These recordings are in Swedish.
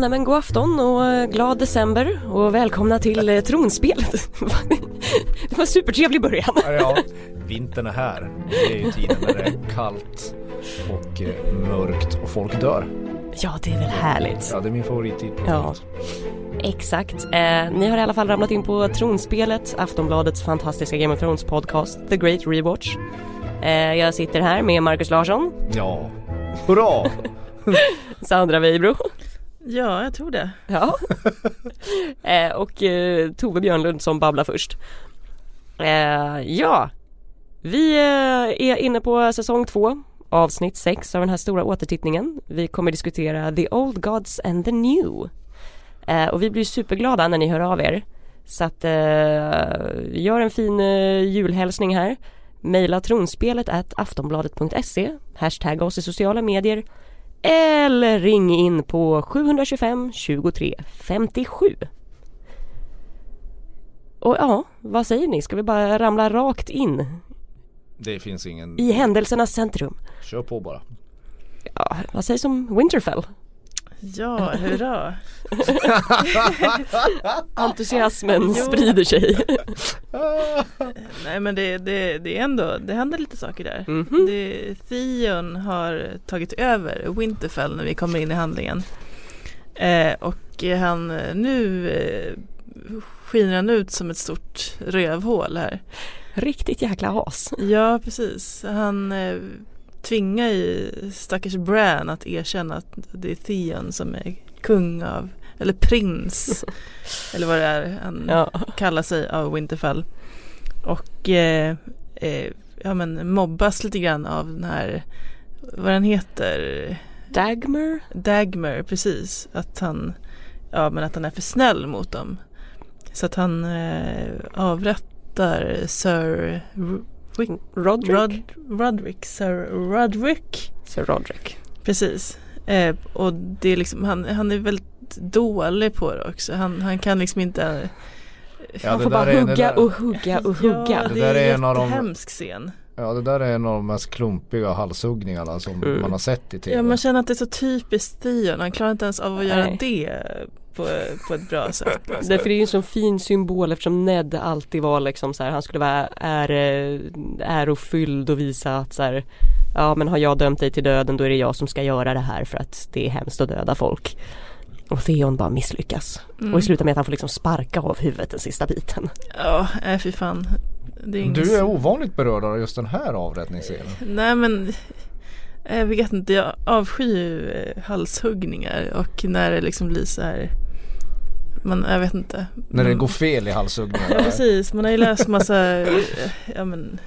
nej men god afton och eh, glad december och välkomna till eh, tronspelet. det var en supertrevlig början. Ja, vintern är här. Det är ju tiden när det är kallt och eh, mörkt och folk dör. Ja, det är väl härligt. Ja, det är min favorittid på Ja. året. Exakt. Eh, ni har i alla fall ramlat in på tronspelet, Aftonbladets fantastiska Game of Thrones podcast, The Great Rewatch. Eh, jag sitter här med Marcus Larsson, Ja. Hurra! Sandra Weibro Ja, jag tror det. ja. eh, och eh, Tove Björnlund som babblar först. Eh, ja, vi eh, är inne på säsong två, avsnitt sex av den här stora återtittningen. Vi kommer diskutera The Old Gods and the New. Eh, och vi blir superglada när ni hör av er. Så att eh, gör en fin eh, julhälsning här. Maila tronspelet at aftonbladet.se Hashtagga oss i sociala medier eller ring in på 725 23 57. Och ja, vad säger ni? Ska vi bara ramla rakt in Det finns ingen... i händelsernas centrum? Kör på bara. Ja, vad sägs om Winterfell? Ja, hurra. Entusiasmen Jo. sprider sig. Nej men det, det, det är ändå, det händer lite saker där. Mhm. Det, Theon har tagit över Winterfell när vi kommer in i handlingen. Eh, och han, nu eh, skiner han ut som ett stort rövhål här. Riktigt jäkla has. Ja, precis. Han eh, tvingar ju stackars Bran att erkänna att det är Theon som är kung av, eller prins, eller vad det är han Ja. kallar sig av Winterfell. Och eh, eh, ja, men mobbas lite grann av den här, vad den heter, Dagmer? Dagmer, precis. Att han, ja men att han är för snäll mot dem. Så att han eh, avrättar Sir Ru- Roderick? Rod, Roderick, Sir Roderick. Sir Roderick. Precis. Eh, och det är liksom, han, han är väldigt dålig på det också. Han, han kan liksom inte... Ja, Man det får där bara är- det hugga där- och hugga och Ja, hugga. det där är är en en av de- jättehemsk scen. Ja, det där är en av de mest klumpiga halshuggningarna som Mm. man har sett i tv. Ja, man känner att det är så typiskt Theon. Han klarar inte ens av att göra Nej. det på, på ett bra sätt. Alltså- Därför är det ju en sån fin symbol eftersom Ned alltid var liksom så här, han skulle vara äre, ärofylld och visa att så här, ja men har jag dömt dig till döden då är det jag som ska göra det här för att det är hemskt att döda folk. Och Theon bara misslyckas. Mm. Och det slutar med att han får liksom sparka av huvudet den sista biten. Ja, nej fy fan. Det är Du är inget- ovanligt berörd av just den här avrättningsscenen. Nej men jag vet inte, jag avskyr ju eh, halshuggningar och när det liksom blir så här man, jag vet inte. När det Mm. går fel i Ja halshuggningarna. precis, man har ju läst massa, eh, ja men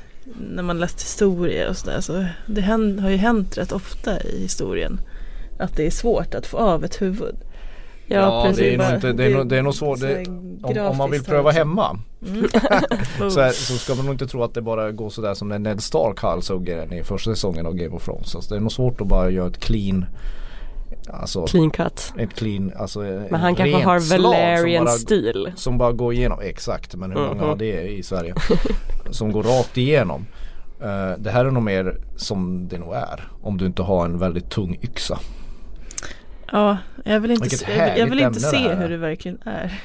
när man läst historier och sådär så det hän- har ju hänt rätt ofta i historien att det är svårt att få av ett huvud. Ja, det är nog bara- inte, det är, nog- det är nog svårt. så Det, här om, om man vill grafiskt pröva också. hemma Mm. så, här, så ska man nog inte tro att det bara går sådär som när Ned Stark halshugger en i första säsongen av Game of Thrones. Alltså, det är nog svårt att bara göra ett clean, alltså Clean cut. ett clean, alltså ett Men han kanske rent har slag som Valerian bara- stil. Som bara går igenom, exakt men hur många Mhm. har det i Sverige? som går rakt igenom. Eh, det här är nog mer som det nog är om du inte har en väldigt tung yxa. Ja, jag vill inte, Vilket se- jag vill, jag vill härligt inte ämne det se här hur är. det verkligen är.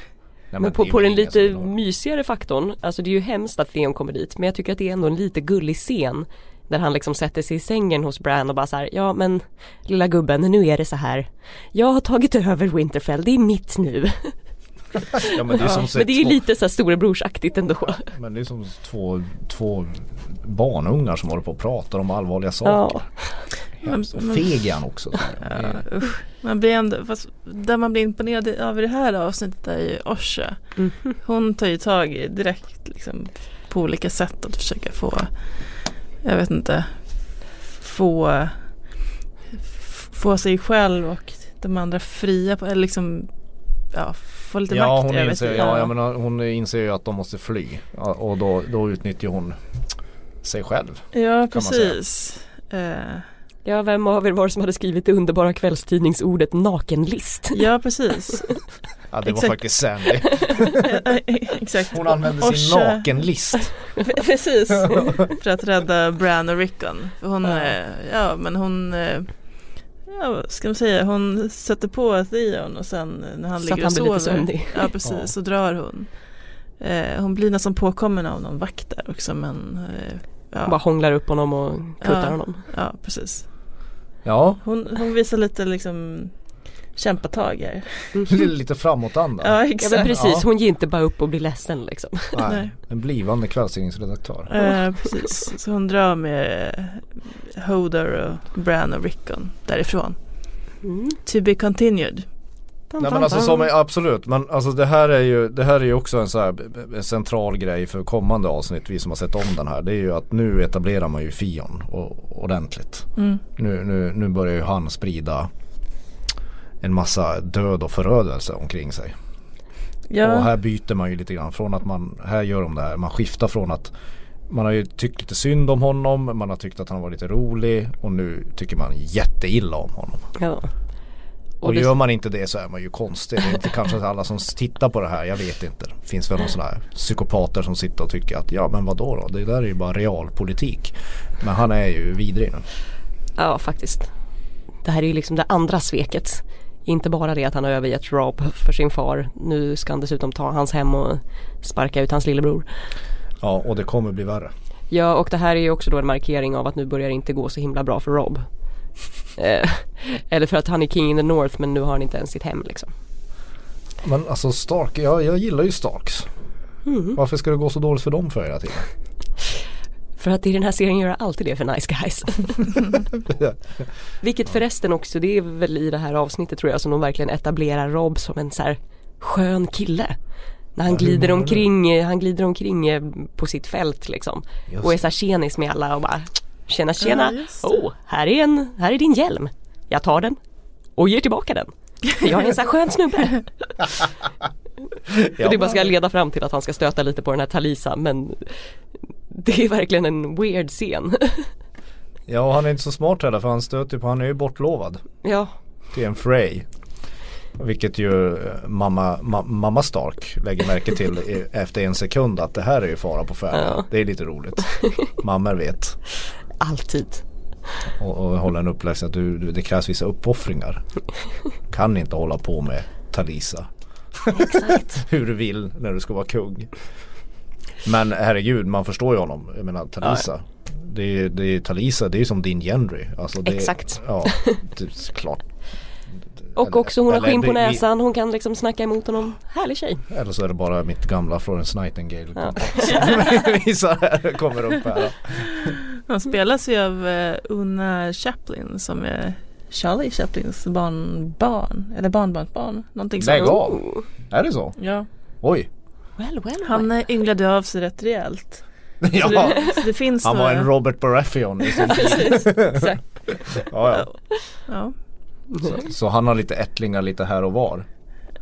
Nej, Men på, det är på väl den ingen som lite vill ha- mysigare faktorn, alltså det är ju hemskt att Theon kommer dit men jag tycker att det är ändå en lite gullig scen där han liksom sätter sig i sängen hos Bran och bara så här, ja men lilla gubben nu är det så här, jag har tagit över Winterfell, det är mitt nu. ja, men det är som men det är ju två- lite så här storebrorsaktigt ändå. Men det är som två, två barnungar som håller på och pratar om allvarliga Ja, saker. Hemskt. Och Men- feg är han också. så här. Ja, Mm, usch. Man blir ändå, fast där man blir imponerad över det här avsnittet är ju Orsa. Mhm. Hon tar ju tag i direkt liksom, på olika sätt att försöka få, jag vet inte, få, få sig själv och de andra fria, på, eller liksom, ja, få lite Ja, makt hon över inser, sig. ja, jag menar, hon inser ju att de måste fly Ja, och då, då utnyttjar hon sig själv. ja kan man säga. precis. Eh, ja vem av er var det som hade skrivit det underbara kvällstidningsordet nakenlist? ja, precis. Ja, det var Exakt. faktiskt Sandy. Exakt. Hon använde sin Orsa- nakenlist. Precis, för att rädda Bran och Rickon. För hon, Ja. eh, ja men hon eh, ja, vad ska man säga, hon sätter på Theon och sen när han Så ligger att han och blir lite sover. sömnig. Ja precis, Ja. så drar hon. Eh, hon blir nästan påkommen av någon vakt där också men eh, Hon bara ja, hånglar upp honom och kuttar Ja. honom. ja precis. Ja, Hon, hon visar lite liksom kämpatag här. lite framåtanda. Ja Ja exakt. men precis, Ja. hon ger inte bara upp och blir ledsen liksom. Nej, Nej. En blivande kvällstidningsredaktör. Eh, precis. Så hon drar med eh, Hodor och Bran och Rickon därifrån. Mm. To be continued. Nej men alltså som är, absolut, men alltså det här är ju, det här är ju också en så här b- b- central grej för kommande avsnitt, vi som har sett om den här. Det är ju att nu etablerar man ju Fion o- ordentligt. Mm. Nu, nu, nu börjar ju han sprida en massa död och förödelse omkring sig. Och Ja, här byter man ju lite grann från att man, här gör de det här, man skiftar från att man har ju tyckt lite synd om honom, man har tyckt att han var lite rolig och nu tycker man jätteilla om honom. Ja. Och, Och det- gör man inte det så är man ju konstig. Det är inte kanske alla som tittar på det här, jag vet inte. Det finns väl någon sån här psykopater som sitter och tycker att ja men vadå då, det där är ju bara realpolitik. Men han är ju vidrig nu. Ja faktiskt. Det här är ju liksom det andra sveket. Inte bara det att han har övergett Rob för sin far. Nu ska han dessutom ta hans hem och sparka ut hans lillebror. Ja och det kommer bli värre. Ja och det här är ju också då en markering av att nu börjar det inte gå så himla bra för Rob. Eh, Eller för att han är king in the north men nu har han inte ens sitt hem liksom. Men alltså Stark, jag, jag gillar ju Starks. Mm. Varför ska det gå så dåligt för dem för hela tiden? För att i den här serien gör jag alltid det för nice guys. Vilket förresten också, det är väl i det här avsnittet tror jag som de verkligen etablerar Rob som en så här skön kille. När han Ja, hur glider menar du? omkring, eh, han glider omkring eh, på sitt fält liksom. Just Och är så här tjenis med alla och bara Tjena tjena, Ja, just det. oh, här, är en, här är din hjälm. Jag tar den och ger tillbaka den. För jag är en så här skön snubbe. Ja. Och det bara ska leda fram till att han ska stöta lite på den här Talisa men det är verkligen en weird scen. Ja och han är inte så smart heller för han stöter ju på, han är ju bortlovad ja, till en Frey. Vilket ju eh, mamma, ma, mamma Stark lägger märke till i, efter en sekund att det här är ju fara på färde. Ja. Det är lite roligt. Mammor vet alltid. och, och håller en uppläxning att du, du, det krävs vissa uppoffringar. Kan inte hålla på med Talisa Exakt. hur du vill när du ska vara kung. Men herregud man förstår ju honom. Jag menar Talisa. Det är, ju- det är, Talisa det är ju som din Gendry. Alltså, det, Exakt. Ja, det är klart. Och också hon har Eller- skinn på eller- näsan, hon kan liksom snacka emot honom. Härlig tjej. Eller så är det bara mitt gamla Florence Nightingale Ja. som visar här, kommer upp här. hon spelas ju av eh, Una Chaplin som är Charlie Chaplins barnbarn. Eller barnbarnsbarn. Någonting Lägg sånt. av! Är det så? Ja. Oj! Oh. Well, well, Han well. eh, ynglade av sig rätt rejält. Så Ja, det, så det finns han var några... en Robert Baratheon i sin tid. Precis, exakt. ja, Ja. ja. Så, så han har lite ättlingar lite här och var.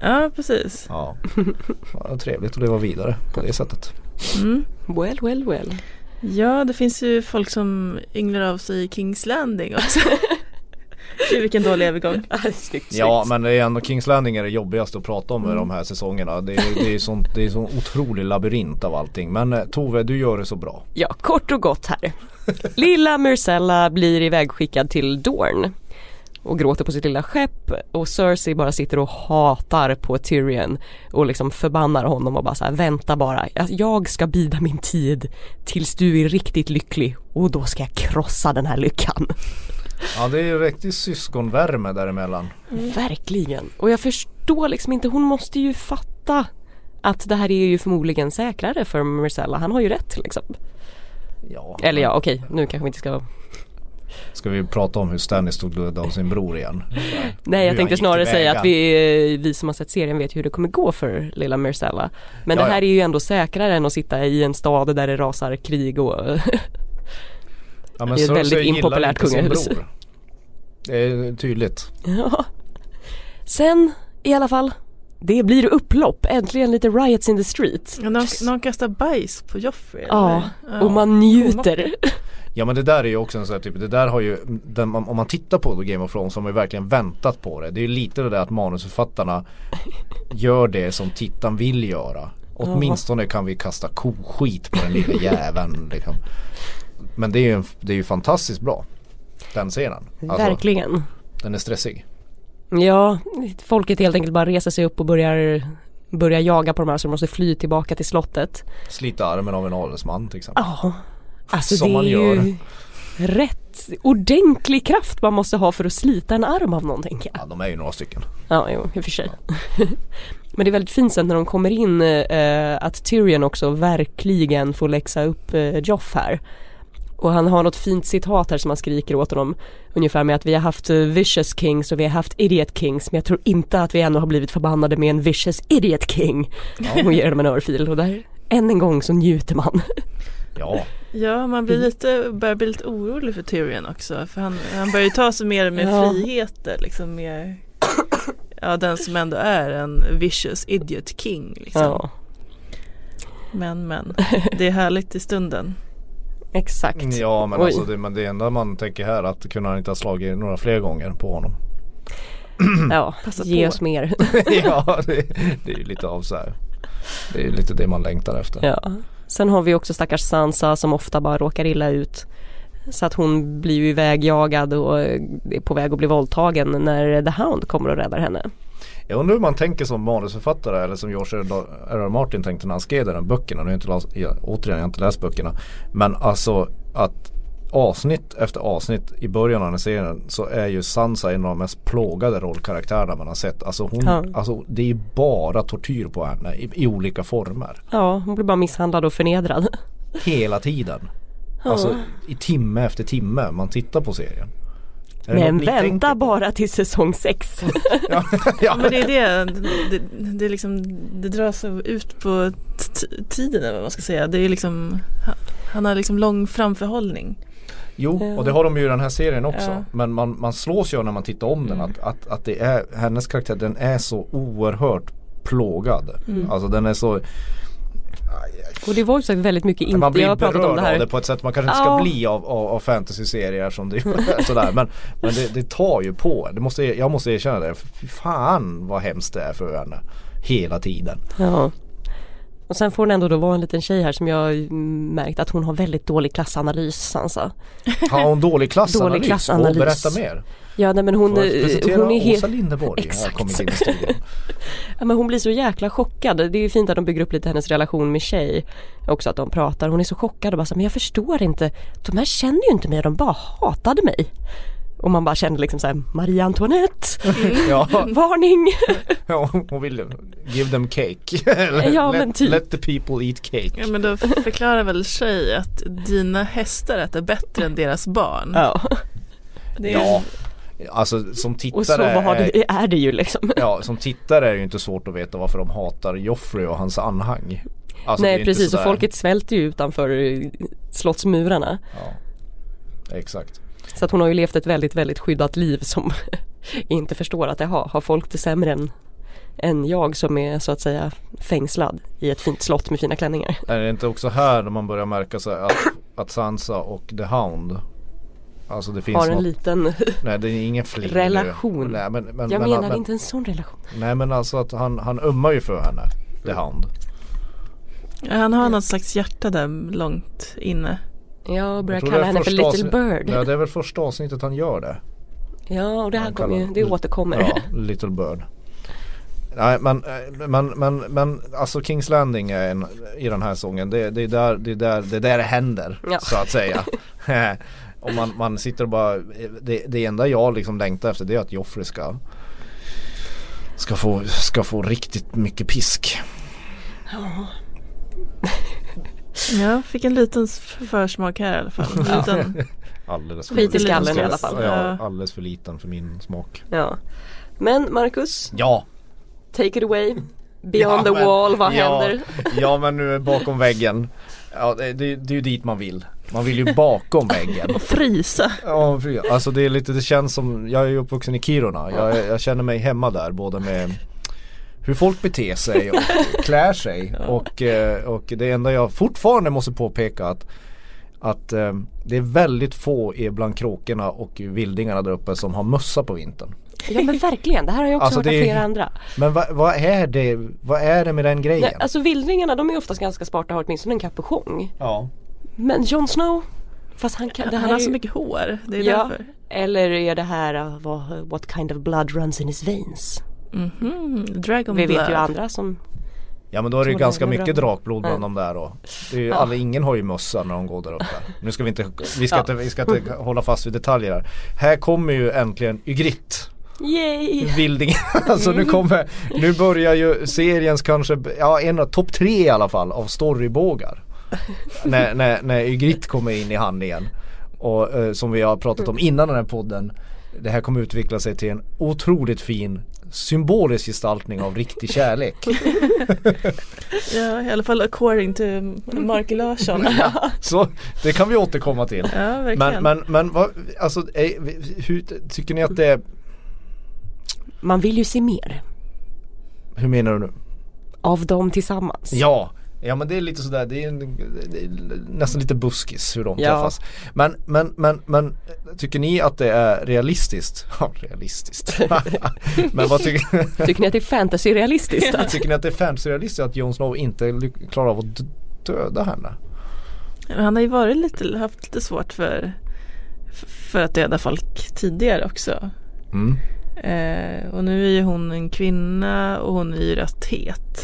ja, precis. Ja. ja trevligt att leva vidare på det sättet. Mm. Well, well, well. Ja, det finns ju folk som ynglar av sig i Kings Landing också. Gud, vilken dålig övergång. Ah, det är snyggt, Ja snyggt. men det är ändå Kings Landing är det jobbigaste att prata om i de här säsongerna. Det är, det är, sånt, det är sån otrolig labyrint av allting. Men eh, Tove du gör det så bra. Ja, kort och gott här. Lilla Myrcella blir ivägskickad till Dorn och gråter på sitt lilla skepp och Cersei bara sitter och hatar på Tyrion och liksom förbannar honom och bara så här, vänta bara, Jag- jag ska bida min tid tills du är riktigt lycklig och då ska jag krossa den här lyckan. Ja det är ju riktig syskonvärme däremellan. Verkligen. Och jag förstår liksom inte, hon måste ju fatta att det här är ju förmodligen säkrare för Marcella. Han har ju rätt liksom. Ja. Eller ja, okej, nu kanske vi inte ska... Ska vi prata om hur Stannis stod död av sin bror igen? Nej, jag Hur han tänkte gick snarare tillväga. säga att vi, eh, vi som har sett serien vet ju hur det kommer gå för lilla Marcella. Men Ja, det här ja. är ju ändå säkrare än att sitta i en stad där det rasar krig och... Ja, men Det är ett Cersei väldigt gillar impopulärt inte sin kungahus. bror. Det är tydligt. ja. Sen, i alla fall, det blir upplopp. Äntligen lite riots in the street. Ja, Någon, någon kastar bajs på Joffrey. Ja, eller? Ja. Och man njuter. Ja men det där är ju också en sån här typ, det där har ju, den, om man tittar på Game of Thrones så har man ju verkligen väntat på det. Det är ju lite det där att manusförfattarna gör det som tittaren vill göra. Åtminstone kan vi kasta koskit på den lilla jäveln liksom. Men det är ju, en, det är ju fantastiskt bra. Den scenen. Alltså, Verkligen. Den är stressig. Ja, folket helt enkelt bara reser sig upp och börjar, börjar jaga på de här så de måste fly tillbaka till slottet. Slita armen av en adelsman till exempel. Ja, alltså Som det man är gör. ju rätt ordentlig kraft man måste ha för att slita en arm av någon tänker jag. Ja, de är ju några stycken. Ja, jo, i och för sig. Men det är väldigt fint sen när de kommer in eh, att Tyrion också verkligen får läxa upp eh, Joff här. Och han har något fint citat här som han skriker åt honom ungefär med att vi har haft eh, vicious kings och vi har haft idiot kings men jag tror inte att vi ännu har blivit förbannade med en vicious idiot king. Och ger dem en örfil och där än en gång så njuter man. Ja, Ja, man Mm. blir lite, börjar bli lite orolig för Tyrion också. För han, han börjar ju ta sig mer och mer Ja. friheter. Liksom mer, ja, den som ändå är en vicious idiot king. Liksom. Ja, Men, men, det är härligt i stunden. exakt. ja men Oj. alltså det, men det enda man tänker här är att kunde han inte ha slagit några fler gånger på honom. Ja, Passa ge på. oss mer. ja, det, det är ju lite av så här. Det är ju lite det man längtar efter. Ja. Sen har vi också stackars Sansa som ofta bara råkar illa ut. Så att hon blir ju ivägjagad och eh, är på väg att bli våldtagen när The Hound kommer och räddar henne. Jag undrar hur man tänker som manusförfattare eller som George R.R. Martin tänkte när han skrev den här böckerna. Nu har jag inte läst, jag, återigen, jag har inte läst böckerna. Men alltså att avsnitt efter avsnitt i början av den här serien så är ju Sansa en av de mest plågade rollkaraktärerna man har sett. Alltså, hon, Ja. alltså det är ju bara tortyr på henne i, i olika former. Ja, hon blir bara misshandlad och förnedrad. Hela tiden. Alltså i timme efter timme man tittar på serien. Är det Men något ni tänker vänta på? bara till säsong 6. Ja, ja. Ja, men det är det, det, det, är liksom, det dras ut på t- tiden eller vad man ska säga. Det är liksom, han har liksom lång framförhållning. Jo, Ja. och det har de ju i den här serien också. Ja. Men man, man slås ju av när man tittar om Mm. den att, att, att det är, hennes karaktär den är så oerhört plågad. Mm. Alltså den är så, Och det var ju så väldigt mycket man inte, blir jag har pratat om berörd det av det här. på ett sätt man kanske inte ska Ja. bli av, av, av fantasy-serier som det sådär. Men, men det, det tar ju på en. det måste, Jag måste erkänna det, Fy fan vad hemskt det är för henne. Hela tiden. Ja. Och sen får hon ändå då vara en liten tjej här som jag mm, märkt att hon har väldigt dålig klassanalys Sansa. Har hon dålig klassanalys? Dålig Åh, klassanalys. Berätta mer. Ja nej men hon, Får jag eh, presentera hon är helt... Åsa Linderborg har Exakt. kommit in i studion. Ja, men hon blir så jäkla chockad. Det är ju fint att de bygger upp lite hennes relation med tjej. Också att de pratar. Hon är så chockad och bara så här, men jag förstår inte. De här känner ju inte mig, de bara hatade mig. Och man bara känner liksom såhär, Marie Antoinette, Ja. varning! Ja, hon vill give them cake. Eller Ja, let, men typ. let the people eat cake. Ja men då förklarar väl tjej att dina hästar äter bättre än deras barn. Ja. Det är- Ja, alltså som tittare, Och så var är, det, är det ju liksom. ja, som tittare är det ju inte svårt att veta varför de hatar Joffrey och hans anhang. Alltså, det är Nej inte precis, och sådär- folket svälter ju utanför eh, slottsmurarna. Ja, exakt. Så att hon har ju levt ett väldigt, väldigt skyddat liv som inte förstår att jaha, har folk det sämre än, än jag som är så att säga fängslad i ett fint slott med fina klänningar. Är det inte också här när man börjar märka så här att, att Sansa och The Hound Alltså det finns har en något, liten, nej det är ingen fling nu. relation. Nej men, men, jag men, menar men, inte en sån relation. Nej men alltså att han, han ömmar ju för henne, The Mm. Hound. Han har något slags hjärta där långt inne. Jag börjar tror kalla det är henne för första Little avsnitt- Bird. Ja Ja, det är väl första avsnittet han gör det. och det här Han kommer ju, kallar- det återkommer. Ja, Little Bird. Nej men, eh, men, men, men alltså Kings Landing är en, i den här sången det, det, är där, det, är där, det är där det händer Ja. så att säga. och man, man sitter och bara, det, det enda jag liksom längtar efter det är att Joffrey ska Ska få, ska få riktigt mycket pisk. Jag fick en liten f- försmak här i alla fall. En Liten, Alldeles Skit i liten skallen ska- i alla fall. Ja, alldeles för liten för min smak. Ja. Men Marcus, Ja! take it away. Beyond Ja, the men- wall, vad ja, händer? Ja men nu är bakom väggen. Ja, det, det, det är ju dit man vill. Man vill ju bakom väggen. och frysa. Ja, fy- alltså det är lite, det känns som, jag är ju uppvuxen i Kiruna. Jag, jag känner mig hemma där både med hur folk beter sig och klär sig. Och, eh, och det enda jag fortfarande måste påpeka att att eh, det är väldigt få i- bland kråkorna och vildingarna där uppe som har mössa på vintern. Ja men verkligen, det här har jag också Alltså, hört det av är- flera andra. Men vad vad är det, vad är det med den grejen? Nej, alltså vildringarna de är oftast ganska smarta och har åtminstone en kapuschong. ja. Men Jon Snow, Fast han kan, det Han här har är så ju- mycket hår, det är Ja. därför. Eller är det här uh, vad- what kind of blood runs in his veins? Mhm, Dragon Vi blood. vet ju andra som Ja men då är det ju Tror det ganska är bra. mycket drakblod bland Ja. de där då. Det är ju, Ja. alla, ingen har ju mössa när de går där uppe. Nu ska vi inte, vi ska Ja. inte, vi ska inte hålla fast vid detaljer här. Här kommer ju äntligen Ygritte, Yay! Vildingen. Alltså nu kommer, nu börjar ju seriens kanske, ja en av topp tre i alla fall av storybågar. när, när, när Ygritte kommer in i hand igen. Och eh, som vi har pratat Mm. om innan den här podden. Det här kommer utveckla sig till en otroligt fin symbolisk gestaltning av riktig kärlek. Ja, i alla fall according to Mark Larsson. Ja, så det kan vi återkomma till. Ja, verkligen. Men, men, men vad, alltså, är, hur, tycker ni att det är, Man vill ju se mer hur menar du nu? av dem tillsammans. Ja, ja men det är lite sådär, det är, en, det är nästan lite buskis hur de Ja. träffas. Men, men, men, men tycker ni att det är realistiskt? Ja, realistiskt. men vad tycker, Tycker ni att det är fantasy-realistiskt? att- tycker ni att det är fantasy-realistiskt att Jon Snow inte ly- klarar av att d- döda henne? Men Han har ju varit lite, haft lite svårt för, för att döda folk tidigare också. Mm. Eh, och nu är ju hon en kvinna och hon är ju rätt het.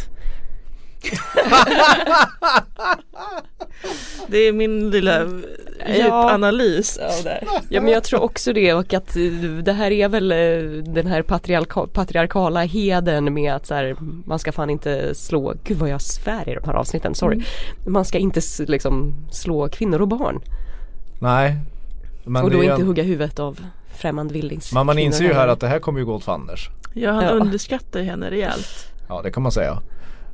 det är min lilla djupanalys av det här. Ja men jag tror också det och att eh, det här är väl eh, den här patriarka- patriarkala heden med att så här, man ska fan inte slå, gud vad jag svär i de här avsnitten, sorry. Man ska inte s- liksom slå kvinnor och barn Nej. Men, och det då är ju inte en- hugga huvudet av främmande vildings. men man kvinnor inser ju här heller. att det här kommer ju gå åt fanders. Ja, han Ja. underskattar ju henne rejält. Ja det kan man säga.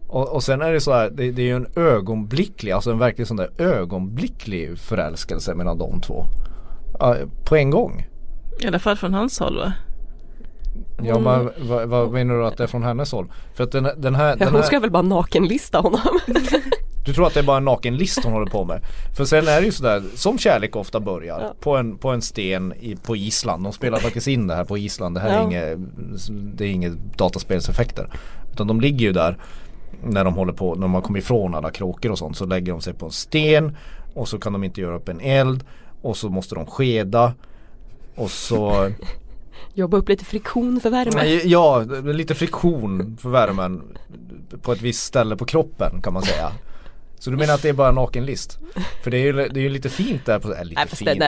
Och, och sen är det så här, det, det är ju en ögonblicklig, alltså en verkligen sån där ögonblicklig förälskelse mellan de två. Ja, på en gång. I alla fall från hans håll va? Ja Mm. men vad, vad menar du att det är från hennes håll? För att den, den här, Ja, den hon här ska väl bara nakenlista honom. du tror att det är bara en nakenlist hon håller på med. För sen är det ju sådär, som kärlek ofta börjar, Ja. på, en, på en sten i, på Island. De spelar faktiskt in det här på Island, det här är Ja. inget, det är inget dataspelseffekter. Utan de ligger ju där när de håller på, när de har kommit ifrån alla kråkor och sånt så lägger de sig på en sten och så kan de inte göra upp en eld och så måste de skeda och så Jobba upp lite friktion för värme. Nej, Ja, det blir lite friktion för värmen på ett visst ställe på kroppen kan man säga. Så du menar att det är bara en nakenlist? För det är ju, det är ju lite fint där på, eller lite Nej, fast fint. det,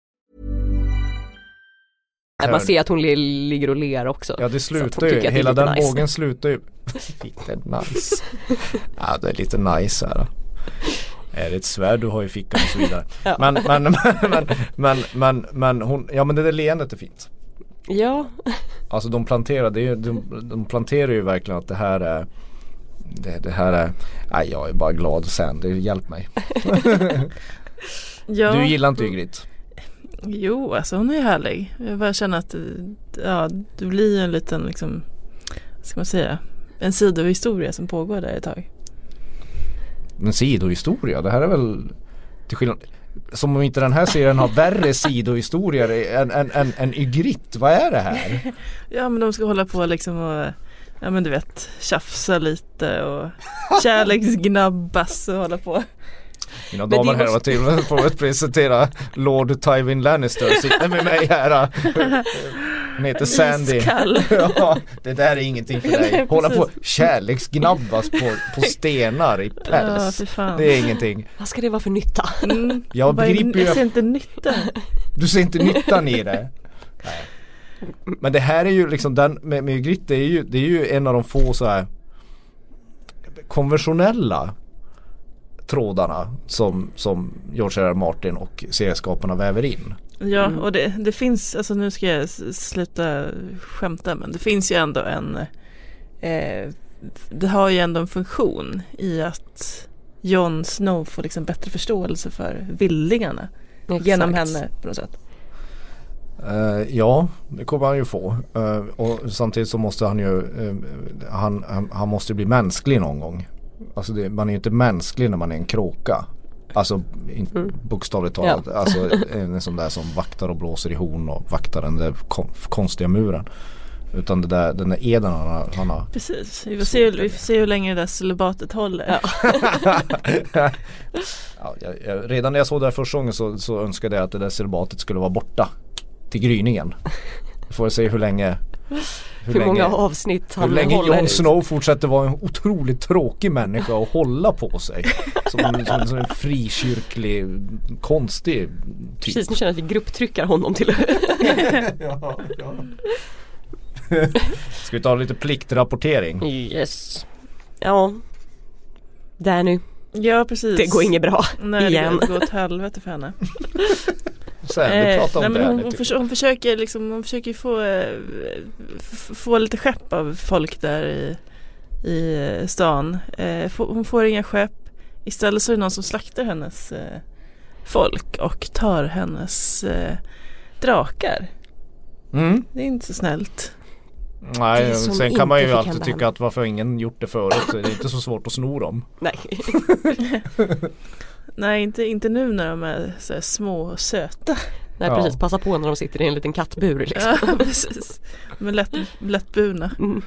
man ser att hon li- ligger och ler också. Ja det Så att hon slutar ju, tycker att det är hela lite den nice. bågen slutar ju. lite nice. ja det är lite nice här. då. Är det ett svärd du har i fickan och så vidare. men, men, men, men, men, men, men hon, ja men det där leendet är fint. Ja, Alltså de planterar, det är, ju- de, de planterar ju verkligen att det här är det, det här är, nej jag är bara glad sen, det, hjälp mig. Ja. Du gillar inte Ygritte? Jo, alltså hon är ju härlig. Jag bara känner att eh, ja, det blir ju en liten, liksom, vad ska man säga, en sidohistoria som pågår där ett tag. Men sidohistoria, det här är väl till skillnad som om inte den här serien har värre sidohistorier än, än, än, än Ygritte, vad är det här? Ja, men de ska hålla på liksom och, ja men du vet, tjafsa lite och kärleksgnabbas och hålla på. Mina det damer och herrar, till och med får jag presentera Lord Tywin Lannister sitter med mig här. Hon heter Sandy. Iskall. Ja, det där är ingenting för dig. Nej, Hålla på precis. kärleksgnabbas på, på stenar i Ja, päls. fy fan. Det är ingenting. vad ska det vara för nytta? Mm. Jag Vad är- begriper ju Jag ser att inte nytta. du ser inte nyttan i det. Nej. Men det här är ju liksom den med, med Grit, det är ju, det är ju en av de få så här konventionella trådarna som, som George R. R. Martin och serieskaparna väver in. Ja, Mm. och det, det finns, alltså nu ska jag s- sluta skämta, men det finns ju ändå en, eh, det har ju ändå en funktion i att Jon Snow får liksom bättre förståelse för villingarna Exakt. genom henne på något sätt. Eh, ja, det kommer han ju få. Eh, och samtidigt så måste han ju, eh, han, han, han måste ju bli mänsklig någon gång. Alltså det, man är ju inte mänsklig när man är en kråka. Alltså in, bokstavligt talat, Mm. Ja. alltså en sån där som vaktar och blåser i horn och vaktar den där kon, konstiga muren. Utan det där, den där eden han har, han har Precis, vi får se, hur- vi får se hur länge det där celibatet håller. ja, jag, jag, redan när jag såg det här första gången så, så önskade jag att det där celibatet skulle vara borta till gryningen. Får se hur länge Hur många länge- avsnitt Hur han länge håller Jon i. Snow fortsätter vara en otroligt tråkig människa att hålla på sig. Som, som, som en frikyrklig, konstig typ. Precis, nu känner jag att vi grupptryckar honom till Ska vi ta lite pliktrapportering? Mm. Yes Ja Danny, Ja precis. det går inget bra Nej, igen. det går åt helvete för henne. Sen, vi Eh, pratar om nej, men det. hon, här hon, lite. förs- hon försöker liksom, hon försöker ju få, eh, f- få lite skepp av folk där i, i eh, stan. Eh, få- hon får inga skepp. Istället så är det någon som slaktar hennes eh, folk och tar hennes eh, drakar. Mm. Det är inte så snällt. Det Nej, är som sen kan man inte ju fick alltid hända tycka henne. att varför har ingen gjort det förut? Det är inte så svårt att sno dem. Nej, Nej, inte, inte nu när de är så här små och söta. Nej Ja. precis, passa på när de sitter i en liten kattbur liksom. Ja, precis. De är lätt, lättburna. Mm.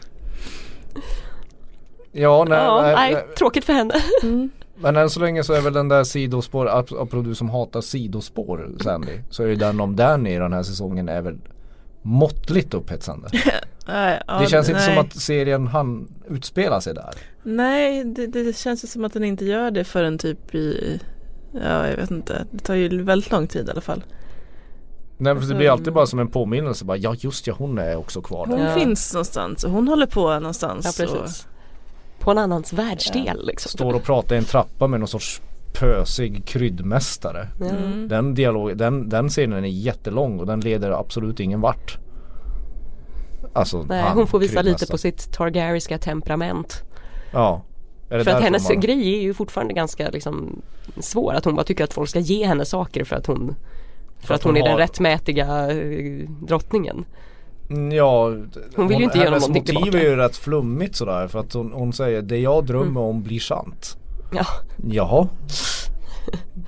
Ja, nej, ja, nej, nej, nej. tråkigt för henne. Mm. Men än så länge så är väl den där sidospår, ap- apropå du som hatar sidospår Sandy, så är ju den om Danny i den här säsongen är väl måttligt upphetsande. Nej, ja, det känns inte nej. som att serien han utspelar sig där. Nej, det, det det känns ju som att den inte gör det förrän typ i, ja jag vet inte, det tar ju väldigt lång tid i alla fall. Nej för det Alltså, blir alltid bara som en påminnelse bara, ja just ja hon är också kvar där. Hon Ja. finns någonstans och hon håller på någonstans. Ja precis. På en annans världsdel liksom. Står och pratar i en trappa med någon sorts pösig kryddmästare. Ja. Och, mm. Den, dialog, den, den scenen är jättelång och den leder absolut ingen vart. Alltså Nej, han, hon får visa lite kryddmästaren. på sitt targariska temperament. Ja. Är det För att därför hennes man- grej är ju fortfarande ganska liksom, svår. Att hon bara tycker att folk ska ge henne saker för att hon för, att hon, är har- den rättmätiga eh, drottningen. Mm, Ja, Hon vill ju inte göra hennes någonting motiv tillbaka. Mm. är ju rätt flummigt sådär för att hon, hon säger det jag drömmer om blir sant. Ja, Jaha.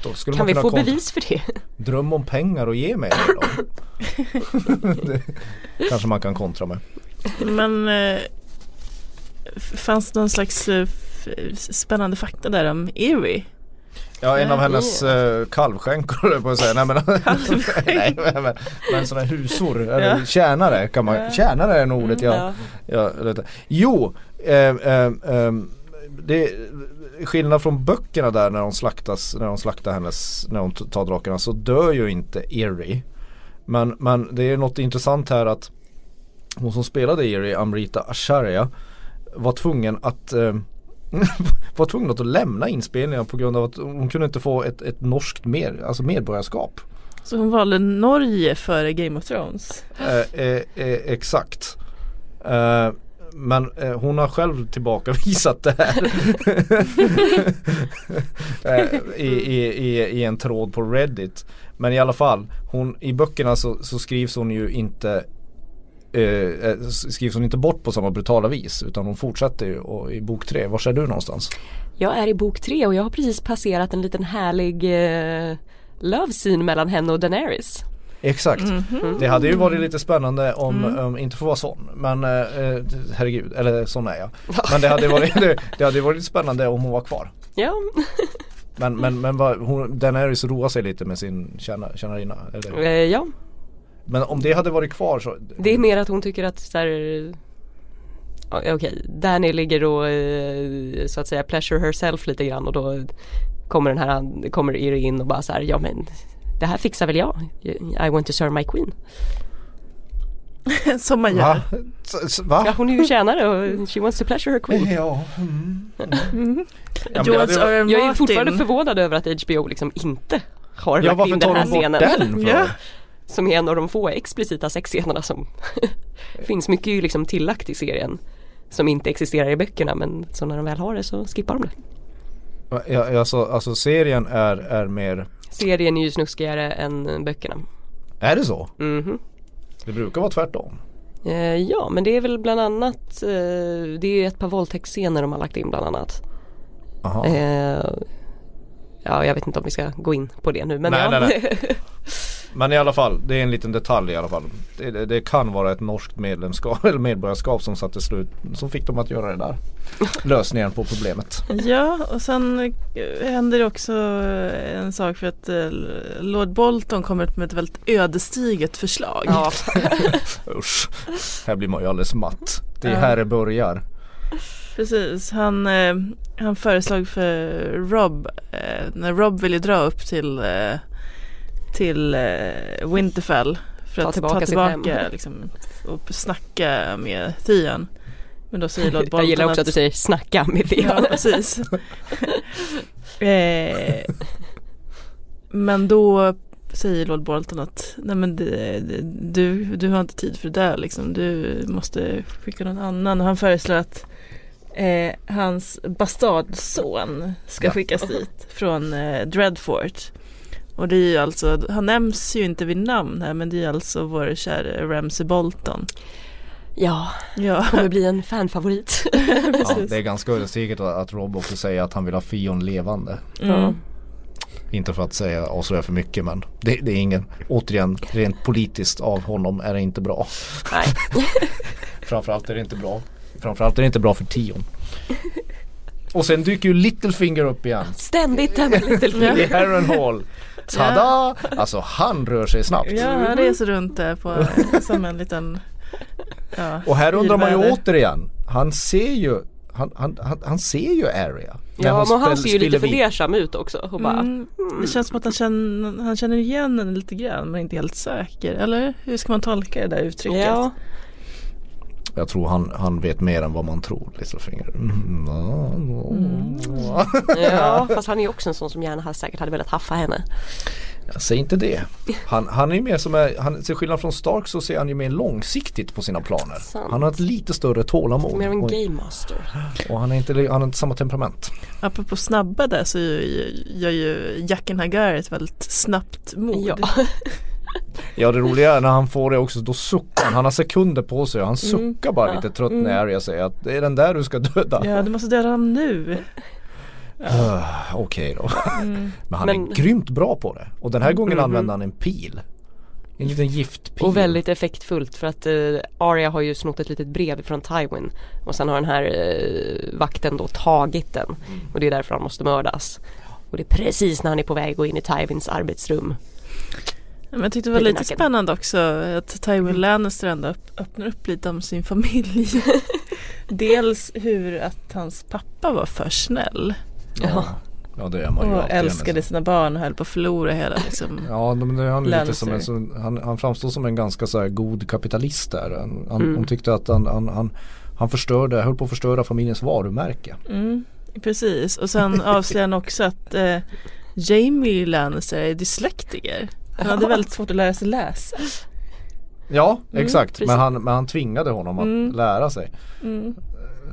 Då skulle kan man vi kunna få kontra- bevis för det? Dröm om pengar och ge mig det då. det kanske man kan kontra med. Men eh, f- fanns det någon slags eh, f- spännande fakta där om Erie? Ja en av Ja, hennes eh, kalvskänkor höll jag på att säga. Nej men, nej, men, men, men sådana här husor, eller Ja. tjänare kan man, tjänare är nog ordet jag, Mm, Ja, detta. Jo, ehm, ehm, ehm, det skillnad från böckerna där när de slaktas, när de slaktar hennes, när de t- tar drakarna så dör ju inte Eerie. Men, men det är något intressant här att hon som spelade Eerie, Amrita Acharya, var tvungen att ehm, var tvungen att lämna inspelningen på grund av att hon kunde inte få ett, ett norskt mer, alltså medborgarskap. Så hon valde Norge före Game of Thrones. Eh, eh, eh, exakt. Eh, men eh, hon har själv tillbakavisat det här. eh, i, i, i, I en tråd på Reddit. Men i alla fall, hon, i böckerna så, så skrivs hon ju inte eh, eh, s- skrivs hon inte bort på samma brutala vis utan hon fortsätter ju och, i bok tre. Var är du någonstans? Jag är i bok tre och jag har precis passerat en liten härlig eh, love scene mellan henne och Daenerys. Exakt. Mhm. Det hade ju varit lite spännande om, Mm. eh, om inte får vara sån. Men eh, eh, herregud, eller sån är jag. Men det hade varit, det, det hade varit spännande om hon var kvar. Ja, Men, men, men vad, hon, den är ju så roar sig lite med sin tjäna- tjänarinna. eh, eller? ja. Men om det hade varit kvar så det är mer att hon tycker att så här, ja, okej, Danny ligger och eh, så att säga pleasure herself lite grann och då kommer den här, kommer Iri in och bara så här, ja men det här fixar väl jag, I want to serve my queen. Som man gör. Va? S- s- Va? Ja hon är ju tjänare och she wants to pleasure her queen. Ja. Mm. Ja, men det hade George ju- R. R. Martin. Jag är fortfarande förvånad över att HBO liksom inte har Ja lagt in varför den tar här de scenen. bort den? För? Ja. Som är en av de få explicita sexscenerna som finns. Mycket är ju liksom tillagt i serien. Som inte existerar i böckerna men så när de väl har det så skippar de det. Ja, alltså, alltså serien är, är mer, Serien är ju snuskigare än böckerna. är det så? Mhm. Det brukar vara tvärtom. Eh, ja men det är väl bland annat, eh, det är ett par våldtäktsscener de har lagt in bland annat. Aha. Eh, ja jag vet inte om vi ska gå in på det nu men Nej, ja. nej, Men i alla fall, det är en liten detalj i alla fall. Det, det, det kan vara ett norskt medlemskap eller medborgarskap som satte slut, som fick dem att göra det där. Lösningen på problemet. Ja, och sen eh, händer det också en sak för att eh, Lord Bolton kommer upp med ett väldigt ödesdigert förslag. ja. Usch, här blir man ju alldeles matt. Det är Ja. här det börjar. Precis, han, eh, han föreslog för Rob, eh, när Rob ville dra upp till, eh, till eh, Winterfell för Ta att tillbaka ta sitt tillbaka hem. liksom, och snacka med Theon. Men då säger Lord Jag Bolton gillar också att du säger snacka med det. Ja, precis. eh, men då säger Lord Bolton att nej men det, det, du, du har inte tid för det där liksom. Du måste skicka någon annan. Och han föreslår att eh, hans bastardson ska Ja. skickas dit från eh, Dreadfort. Och det är ju alltså, han nämns ju inte vid namn här men det är alltså vår kära Ramsay Bolton. Ja, Ja, kommer bli en fanfavorit. Ja, precis. det är ganska ödesdigert att att Rob också säger att han vill ha Fion levande. Ja. Mm. Inte för att säga avslöja för mycket men det, det är ingen, återigen rent politiskt av honom är det inte bra. Nej. Framförallt är det inte bra. Framförallt är det inte bra för Tion. Och sen dyker ju Littlefinger upp igen. Ständigt den Ja. Littlefinger. I Harrenhal. Tada! Alltså han rör sig snabbt. Ja, han reser runt där på, som en liten ja, Och här undrar man ju bilväder. återigen. Han ser ju, han, han, han, han ser ju Area. När Ja men han spel- ser ju lite spiller vid. fundersam ut också och bara Mm, det känns som att han känner, han känner igen henne lite grann men inte helt säker. Eller hur ska man tolka det där uttrycket? Ja, Jag tror han, han vet mer än vad man tror Littlefinger. Mm. ja fast han är ju också en sån som gärna hade- säkert hade velat haffa henne. Jag säger inte det. Han, han är ju mer som, är, han, till skillnad från Stark så ser han ju mer långsiktigt på sina planer. Sant. Han har ett lite större tålamod. Mer av en Och, game master. och han, är inte, li- han har inte samma temperament. Apropå snabba där så gör ju- gör ju Jacken Hagar ett väldigt snabbt mod. Ja. Ja det roliga är när han får det också, då suckar han. Han har sekunder på sig och han Mm. suckar bara lite trött när Arya säger att det är den där du ska döda. ja, du måste döda honom nu. Ah, Okej då. Men han Mm. Men- Mm. är grymt bra på det. Och den här gången använder han en pil. En liten giftpil. Och väldigt effektfullt för att eh, Arya har ju snott ett litet brev från Tywin och sen har den här eh, vakten då tagit den och det är därför han måste mördas. Och det är precis när han är på väg att gå in i Tywins arbetsrum. Men jag tyckte det var lite Nacken. spännande också att Tywin Lannister ändå öpp- öppnar upp lite om sin familj. Dels hur att hans pappa var för snäll Ja, ja det är man ju och alltid, älskade sina barn och höll på att förlora hela liksom. Ja, men det är han, lite som en, Lannister. som, han, han framstår som en ganska så här god kapitalist där. Han, han, Mm. Hon tyckte att han, han, han, han förstörde, höll på att förstöra familjens varumärke. Mm, precis, och sen avslöjar han också att eh, Jamie Lannister är dyslektiker. Han hade väldigt svårt att lära sig läsa. Ja, Mm, exakt. Men precis. han, men han tvingade honom att lära sig. Mm.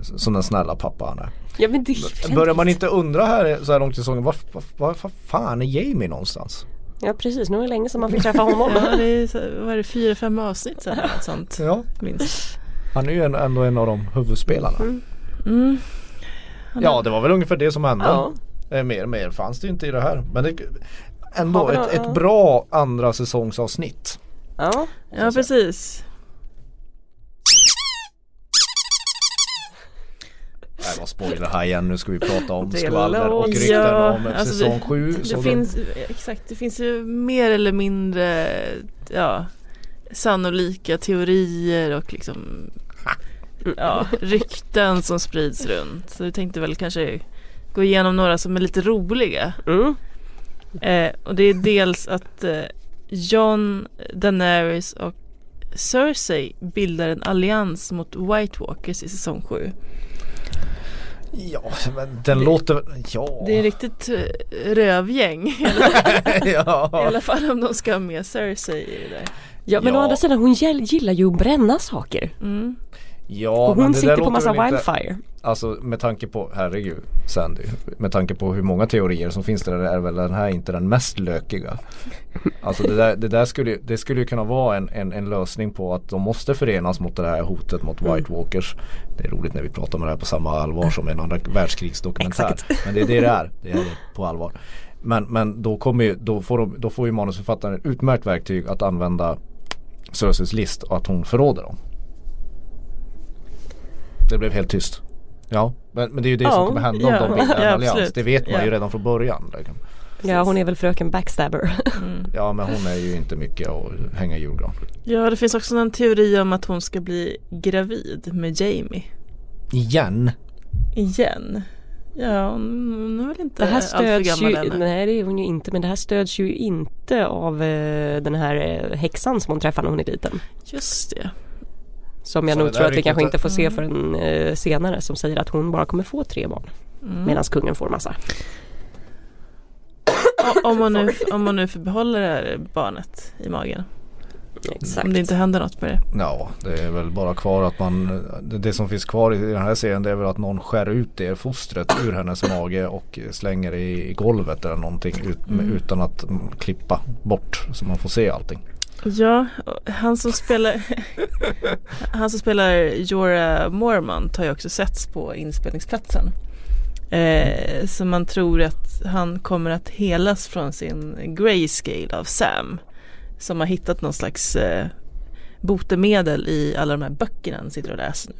S- Som den snälla pappa han är. Ja men det är ju Börjar man inte undra här så här långt i säsongen, var, var, var, var fan är Jamie någonstans? Ja precis, nu är det länge sedan man fick träffa honom. Ja, det är, så- vad är det, fyra, fem avsnitt sen eller något sånt. Ja, Minst. han är ju en, ändå en av de huvudspelarna. Mm. Ja, det var väl ungefär det som hände. Ja. Eh, Mer, mer fanns det ju inte i det här. Men det, ändå Har vi ett, några- ett bra andra säsongsavsnitt. Ja. Ja, precis. Nej vad spoiler här igen, nu ska vi prata om Det skvaller och låter- rykten Ja, om alltså säsong vi- 7. Det finns, exakt, det finns ju mer eller mindre ja, sannolika teorier och liksom ja, rykten som sprids runt. Så vi tänkte väl kanske gå igenom några som är lite roliga. Mm. Eh, och det är dels att eh, John, Daenerys och Cersei bildar en allians mot White Walkers i säsong 7. Ja, men den låter... Ja. Det är riktigt eh, rövgäng i ja. alla fall om de ska ha med Cersei i det där. ja men Ja. å andra sidan hon gäll- gillar ju att bränna saker. Mm. Ja, Och men hon det sitter där på låter massa väl inte- wildfire. Alltså med tanke på, herregud Sandy, med tanke på hur många teorier som finns där är väl den här inte den mest lökiga. Alltså det där, det där skulle, ju- det skulle ju kunna vara en, en, en lösning på att de måste förenas mot det här hotet mot Mm. White Walkers. Det är roligt när vi pratar om det här på samma allvar som en andra världskrigsdokumentär. Exakt. Men det är det det är, det är det på allvar. Men, men då, kommer ju, då, får de, då får ju manusförfattaren ett utmärkt verktyg att använda Cerseus list och att hon förråder dem. Det blev helt tyst. Ja, men, men det är ju det Ja, som kommer hända om ja, de bildar en ja, allians. absolut. Det vet man ju Ja. redan från början. liksom. Ja hon är väl fröken backstabber. Ja, men hon är ju inte mycket att hänga i julgran. Ja, det finns också en teori om att hon ska bli gravid med Jamie. Igen? Igen. Ja, hon är väl inte Det här alltför stöds gammal ju, ännu. nej det är hon ju inte, men det här stöds ju inte av eh, den här eh, häxan som hon träffar när hon är liten. Just det. Som jag Så det nog tror där att vi kanske ryktet- inte får se Mm. förrän eh, senare som säger att hon bara kommer få tre barn. Mm. Medan kungen får massa. O- Om hon, nu, om hon nu får behålla det här barnet i magen. Exakt. Om det inte händer något med det. Ja, det är väl bara kvar att man det, det som finns kvar i den här serien det är väl att någon skär ut det fostret ur hennes mage och slänger det i i golvet eller någonting ut, utan att mm, klippa bort så man får se allting. Ja, och han som spelar Han som spelar Jorah Mormont har ju också setts på inspelningsplatsen. Eh, så man tror att han kommer att helas från sin grayscale av Sam. Som har hittat någon slags eh, botemedel i alla de här böckerna han sitter och läser nu.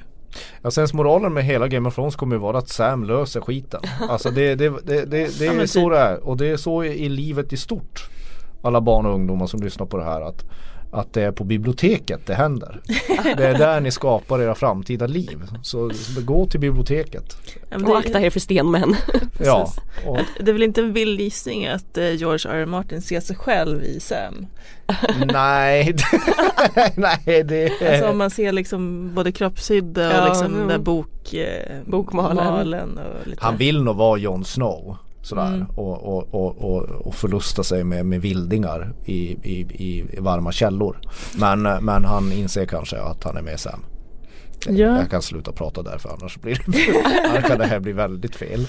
Ja, sen Alltså moralen med hela Game of Thrones kommer ju vara att Sam löser skiten. Alltså det, det, det, det, det Ja, är men så typ. det är och det är så i livet i stort. Alla barn och ungdomar som lyssnar på det här att, att det är på biblioteket det händer. Det är där ni skapar era framtida liv. Så, så gå till biblioteket. Ja, men Och det- akta er för stenmän. Ja, och, Det är väl inte en vild gissning att eh, George R. R. Martin ser sig själv i Sam? nej, nej det Alltså om är... man ser liksom både kroppshydda och Eh. Ja, liksom den där jo. bok, eh, Bokmalen. malen och lite. Han vill nog vara Jon Snow. Sådär Mm. och, och, och, och, och förlusta sig med, med vildingar i, i, i varma källor. Men, men han inser kanske att han är med Sam. Ja. Jag kan sluta prata där för annars blir det, annars kan det här bli väldigt fel.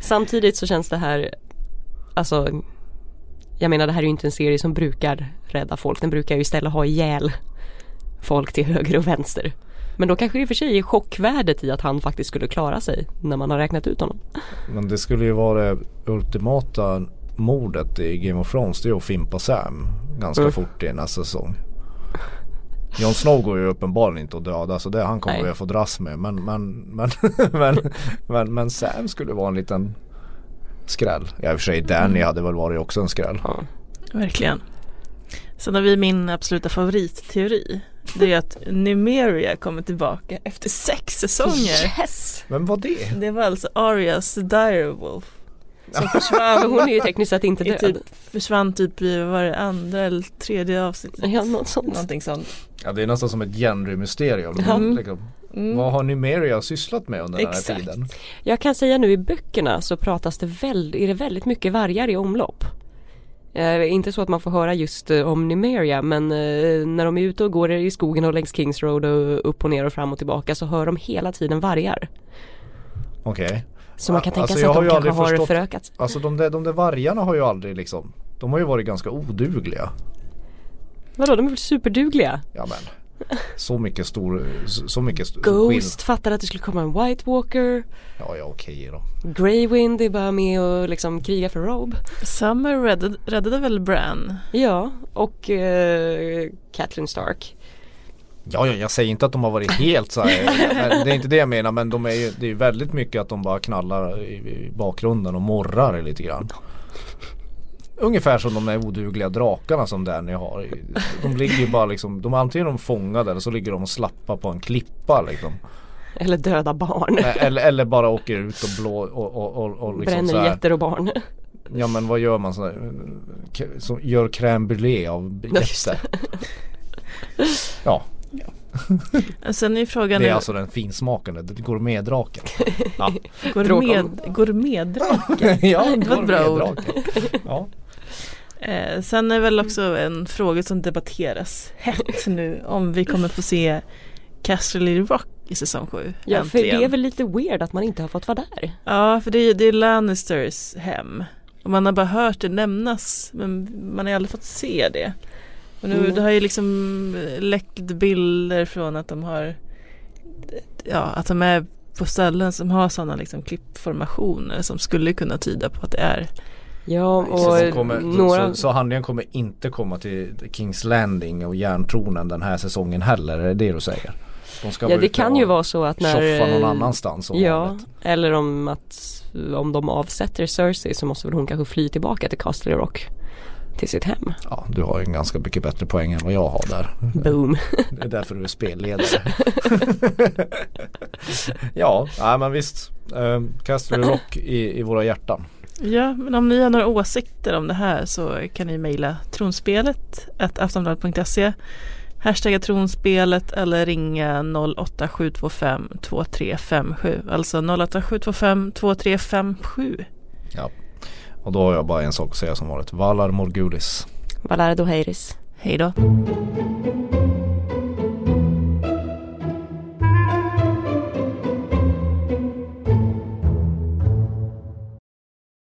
Samtidigt så känns det här, alltså jag menar det här är ju inte en serie som brukar rädda folk. Den brukar ju istället ha ihjäl folk till höger och vänster. Men då kanske det i och för sig är chockvärdet i att han faktiskt skulle klara sig när man har räknat ut honom. Men det skulle ju vara det ultimata mordet i Game of Thrones det är att fimpa Sam ganska Mm. fort i nästa säsong. Jon Snow går ju uppenbarligen inte att döda så det han kommer Nej. vi att få dras med men, men, men, men, men, men Sam skulle vara en liten skräll. Ja, i och för sig Danny hade väl varit också en skräll. Ja. Verkligen. Sen har vi min absoluta favoritteori. Det är att Numeria kommer tillbaka efter sex säsonger. Yes! Vem var det? Det var alltså Arias Direwolf. Som För försvann, hon är ju tekniskt sett inte i död. typ, försvann typ i vad var det andra eller tredje avsnittet. Ja, något sånt. Någonting sånt. Ja det är nästan som ett genremysterium. Mm. Liksom, Mm. vad har Numeria sysslat med under den Exakt. här tiden? Jag kan säga nu i böckerna så pratas det väl, är det väldigt mycket vargar i omlopp. Eh, inte så att man får höra just eh, om Numeria men eh, när de är ute och går i skogen och längs Kings Road och upp och ner och fram och tillbaka så hör de hela tiden vargar. Okej. Så man kan Ja, tänka alltså sig jag att har de ju kanske aldrig har förstått- förökats. Alltså de där, de där vargarna har ju aldrig liksom De har ju varit ganska odugliga Vadå, de är väl superdugliga? Ja men Så mycket stor Så så mycket stor Ghost skill- fattade att det skulle komma en White Walker. Ja ja okej då Grey Wind är bara med och liksom krigar för Robe. Summer räddade, räddade väl Bran? Ja, och eh, Catelyn Stark. Ja ja jag säger inte att de har varit helt så här, men Det är inte det jag menar men de är ju Det är ju väldigt mycket att de bara knallar i, i bakgrunden och morrar lite grann Ungefär som de där odugliga drakarna som Danny har De ligger ju bara liksom De är antingen de fångade eller så ligger de och slappar på en klippa liksom Eller döda barn. Eller, eller bara åker ut och blå och, och, och, och liksom så Bränner här. getter och barn. Ja men vad gör man sådär? K- Som gör crème brûlée av just jätter. Ja, Sen är ju frågan det är nu- alltså den finsmakande det går med draken. Ja, Dråkon. Gourmet, gourmetdraken. ja det var ett bra ord. gourmetdraken. Ja. Eh, sen är väl också en fråga som debatteras hett nu om vi kommer få se Casterly Rock i säsong sju. Ja för äntligen. det är väl lite weird att man inte har fått vara där. Ja, för det är, det är Lannisters hem. Och man har bara hört det nämnas, men man har aldrig fått se det. Och nu Mm. det har ju liksom läckt lite bilder från att de har, ja, att de är på ställen som har sådana liksom klippformationer som skulle kunna tyda på att det är. Ja Så, de och kommer, några så, så handlingen kommer inte komma till Kings Landing och järntronen den här säsongen heller, är det det du säger? De ska Ja vara det ute kan och ju vara så att när Tjoffa någon eh, annanstans som Ja, vanligt. eller om att om de avsätter Cersei så måste väl hon kanske fly tillbaka till Castle Rock till sitt hem. ja, du har ju en ganska mycket bättre poäng än vad jag har där Boom. Det är därför du är spelledare. ja, nej men visst. Um, Castle Rock i, i våra hjärtan. Ja, men om ni har några åsikter om det här så kan ni mejla tronspelet aftonbladet.se Hashtagga tronspelet eller ringa 08725 2357 Alltså 08725 2357 Ja. Och då har jag bara en sak att säga som varit. Valar Morgulis. Valardo Heiris. Hej då!